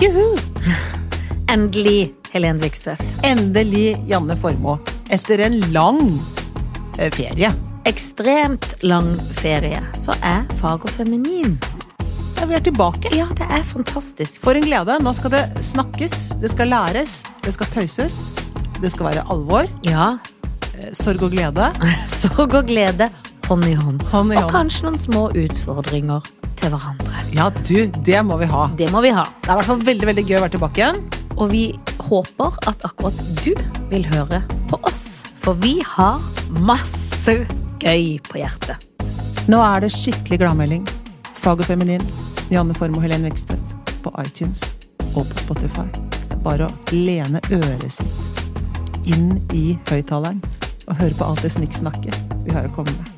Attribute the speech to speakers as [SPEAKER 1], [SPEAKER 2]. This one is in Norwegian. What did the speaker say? [SPEAKER 1] Juhu! Endelig, Helen Vikstvedt.
[SPEAKER 2] Endelig Janne Formoe. Etter en lang eh, ferie.
[SPEAKER 1] Ekstremt lang ferie, så er fag og feminin.
[SPEAKER 2] Ja, vi er tilbake.
[SPEAKER 1] Ja, det er fantastisk.
[SPEAKER 2] For en glede. Nå skal det snakkes, det skal læres, det skal tøyses. Det skal være alvor,
[SPEAKER 1] Ja,
[SPEAKER 2] eh, sorg og glede.
[SPEAKER 1] sorg og glede hånd i hånd.
[SPEAKER 2] Hånd i
[SPEAKER 1] Og
[SPEAKER 2] hånd.
[SPEAKER 1] kanskje noen små utfordringer til hverandre.
[SPEAKER 2] Ja, du, det må vi ha.
[SPEAKER 1] Det må vi ha.
[SPEAKER 2] Det er i hvert fall veldig veldig gøy å være tilbake igjen.
[SPEAKER 1] Og vi håper at akkurat du vil høre på oss. For vi har masse gøy på hjertet.
[SPEAKER 2] Nå er det skikkelig gladmelding. Fag og feminin. Janne Form og Helen Vekstvedt på iTunes og på Spotify. Så det er bare å lene øret sitt inn i høyttaleren og høre på alt det snikksnakket vi har å komme med.